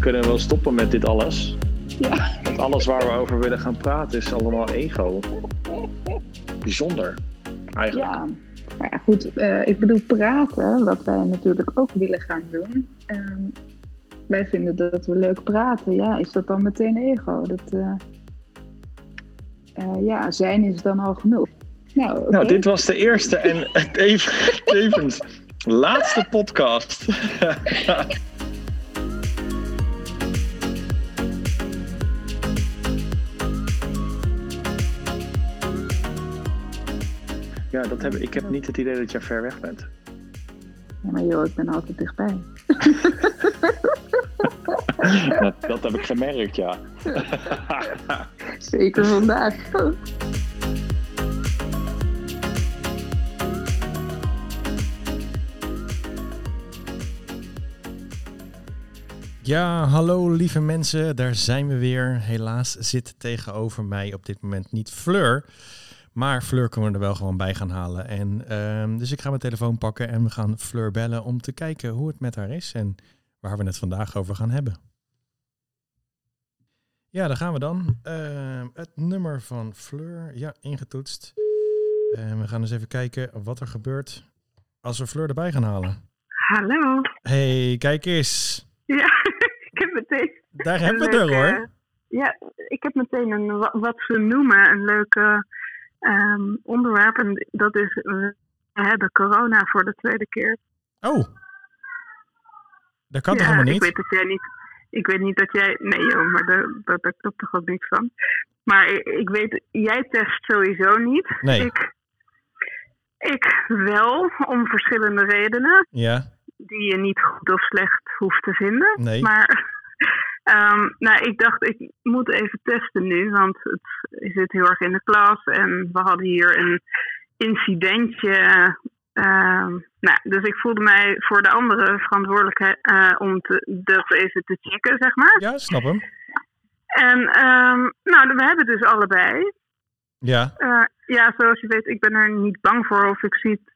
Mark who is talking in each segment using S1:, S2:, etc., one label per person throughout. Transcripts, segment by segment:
S1: kunnen wel stoppen met dit alles.
S2: Ja.
S1: Want alles waar we over willen gaan praten is allemaal ego. Bijzonder, eigenlijk.
S2: ja. Maar ja, goed, eh, ik bedoel praten, wat wij natuurlijk ook willen gaan doen. Ehm, wij vinden dat we leuk praten. Ja, is dat dan meteen ego? Dat, eh, eh, ja, zijn is dan al genoeg. Nou, oké.
S1: Nou, dit was de eerste en tevens- tevens laatste podcast. Ja, dat heb, ik heb niet het idee dat je ver weg bent.
S2: Ja, maar joh, ik ben altijd dichtbij.
S1: Dat, dat heb ik gemerkt, ja.
S2: Zeker vandaag.
S3: Ja, hallo lieve mensen, daar zijn we weer. Helaas zit tegenover mij op dit moment niet Fleur. Maar Fleur kunnen we er wel gewoon bij gaan halen. En, ehm, dus ik ga mijn telefoon pakken en we gaan Fleur bellen om te kijken hoe het met haar is en waar we het vandaag over gaan hebben. Ja, daar gaan we dan. Ehm, het nummer van Fleur, ja, ingetoetst. En we gaan eens even kijken wat er gebeurt als we Fleur erbij gaan halen.
S4: Hallo.
S3: hey, kijk eens.
S4: Ja, ik heb meteen.
S3: Daar
S4: een
S3: hebben we het er
S4: leuke-
S3: hoor.
S4: Ja, ik heb meteen een, wa- wat ze noemen een leuke ehm, onderwerp. En dat is: we hebben corona voor de tweede keer.
S3: Oh. Dat kan toch
S4: Ja,
S3: helemaal
S4: Ik
S3: niet?
S4: weet dat jij niet. Ik weet niet dat jij. Nee, joh, maar daar, daar, daar klopt toch ook niks van. Maar ik, ik weet, jij test sowieso niet.
S3: Nee.
S4: Ik, ik wel, om verschillende redenen.
S3: Ja,
S4: Die je niet goed of slecht hoeft te vinden.
S3: nee.
S4: Maar ehm, nou, ik dacht, ik moet even testen nu, want het zit heel erg in de klas. En we hadden hier een incidentje. ehm, nou, dus ik voelde mij voor de anderen verantwoordelijk eh, om te, dat even te checken, zeg maar.
S3: Ja, snap hem.
S4: En ehm, nou, we hebben het dus allebei.
S3: Ja,
S4: Eh, ja, zoals je weet, ik ben er niet bang voor. Of ik zie het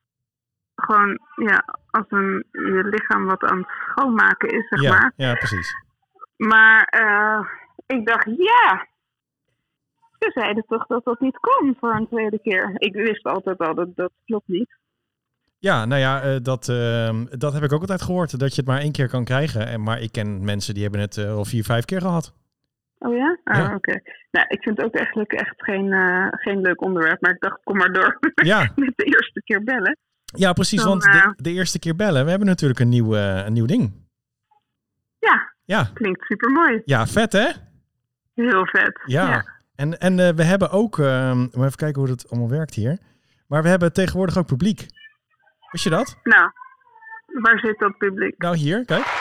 S4: gewoon ja, als een, je lichaam wat aan het schoonmaken is, zeg maar.
S3: ja, ja, precies.
S4: Maar eh, ik dacht, ja. Ze zeiden toch dat dat niet kon voor een tweede keer. Ik wist altijd al dat dat klopt niet.
S3: Ja, nou ja, eh, dat, ehm, dat heb ik ook altijd gehoord. Dat je het maar één keer kan krijgen. En, maar ik ken mensen die hebben het eh, al vier, vijf keer gehad.
S4: Oh ja? Ah,
S3: Ja.
S4: oké. Nou, ik vind het ook eigenlijk echt geen, eh, geen leuk onderwerp. Maar ik dacht, kom maar door
S3: Ja,
S4: met de eerste keer bellen.
S3: ja precies.
S4: Dan,
S3: Want
S4: eh,
S3: de, de eerste keer bellen, we hebben natuurlijk een nieuw, eh, een nieuw ding.
S4: Ja,
S3: Ja.
S4: klinkt supermooi.
S3: ja, vet hè?
S4: Heel vet.
S3: Ja. En, en eh, we hebben ook, ehm, maar even kijken hoe dat allemaal werkt hier. Maar we hebben tegenwoordig ook publiek. Wist je dat?
S4: Nou, waar zit dat publiek?
S3: Nou hier, kijk.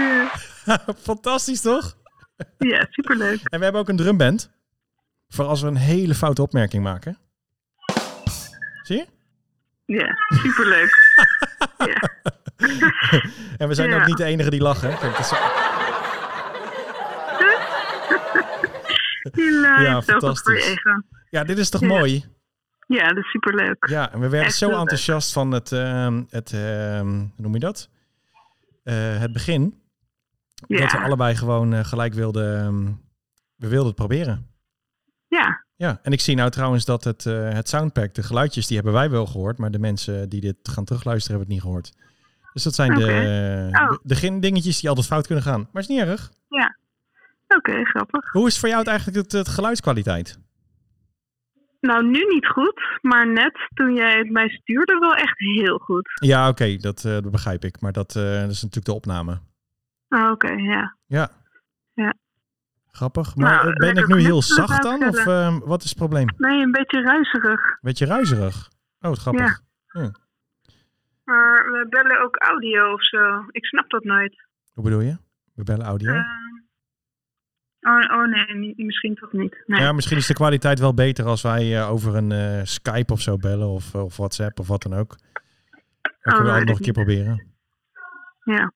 S3: Fantastisch toch?
S4: Ja, superleuk.
S3: En we hebben ook een drumband. Voor als we een hele foute opmerking maken. Zie je?
S4: Ja, superleuk. ja.
S3: En we zijn
S4: Ja.
S3: ook niet de enige die lachen. Kijk, dat is-
S4: Hilarisch.
S3: Ja,
S4: Zo goed voor je
S3: fantastisch.
S4: ego.
S3: Ja, dit is toch
S4: Ja.
S3: mooi?
S4: Ja, dat is superleuk.
S3: Ja, en we werden
S4: Echt
S3: zo
S4: heel leuk.
S3: enthousiast van het, ehm, het ehm, hoe noem je dat? Eh, het begin.
S4: Ja.
S3: Dat we allebei gewoon eh, gelijk wilden, ehm, we wilden het proberen.
S4: ja.
S3: Ja, en ik zie nou trouwens dat het, eh, het soundpack, de geluidjes, die hebben wij wel gehoord. Maar de mensen die dit gaan terugluisteren hebben het niet gehoord. Dus dat zijn
S4: Oké.
S3: de, eh,
S4: Oh.
S3: de, de gin- dingetjes die altijd fout kunnen gaan. Maar is niet erg.
S4: Oké, grappig.
S3: Hoe is het voor jou het eigenlijk het, het geluidskwaliteit?
S4: Nou, nu niet goed, maar net toen jij het mij stuurde wel echt heel goed.
S3: Ja, oké, dat, eh, dat begrijp ik. Maar dat, eh, dat is natuurlijk de opname.
S4: Ah, Oké, ja.
S3: Ja.
S4: Ja.
S3: Grappig. Maar
S4: Nou,
S3: eh, ben ik
S4: lekker
S3: nu heel
S4: knutselen
S3: zacht
S4: zou ik
S3: dan? Of
S4: zeggen.
S3: ehm, wat is het probleem?
S4: Nee, een beetje ruiserig.
S3: Beetje ruiserig. Oh, wat grappig.
S4: Ja. Maar we bellen ook audio of zo. Ik snap dat nooit.
S3: Hoe bedoel je? We bellen audio.
S4: Ehm, oh, oh nee, niet- misschien toch niet. Nee.
S3: Ja, misschien is de kwaliteit wel beter als wij eh, over een eh, Skype of zo bellen. Of, eh, of WhatsApp of wat dan ook. Dan kunnen we
S4: weet
S3: altijd nog
S4: ik
S3: een keer proberen.
S4: Ja.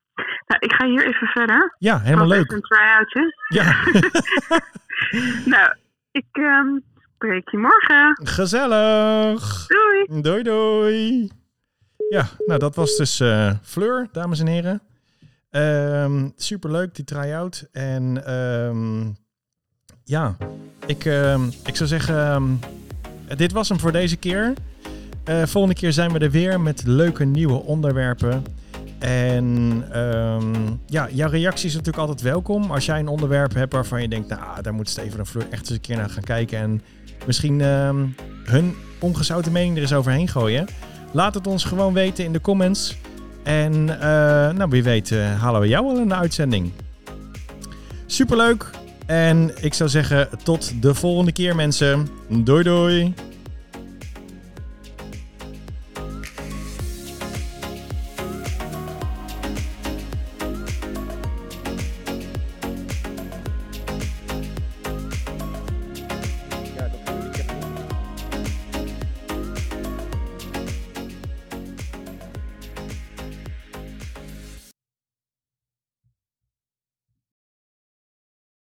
S4: Nou, ik ga hier even verder.
S3: Ja, helemaal
S4: Ik had
S3: Oh, leuk.
S4: even Een try-outje.
S3: Ja,
S4: Nou, ik ehm, spreek je morgen.
S3: gezellig.
S4: Doei!
S3: Doei doei. Ja, nou dat was dus eh, Fleur, dames en heren. Ehm superleuk, die try-out. En ehm, ja, ik, ehm, ik zou zeggen, ehm, dit was hem voor deze keer. Eh, volgende keer zijn we er weer met leuke nieuwe onderwerpen. En ehm, ja, jouw reactie is natuurlijk altijd welkom. Als jij een onderwerp hebt waarvan je denkt, nou, daar moet Steven en Fleur echt eens een keer naar gaan kijken. En misschien ehm, hun ongezouten mening er eens overheen gooien. Laat het ons gewoon weten in de comments. En eh, nou, wie weet eh, halen we jou wel in de uitzending. Superleuk. En ik zou zeggen tot de volgende keer mensen. Doei doei.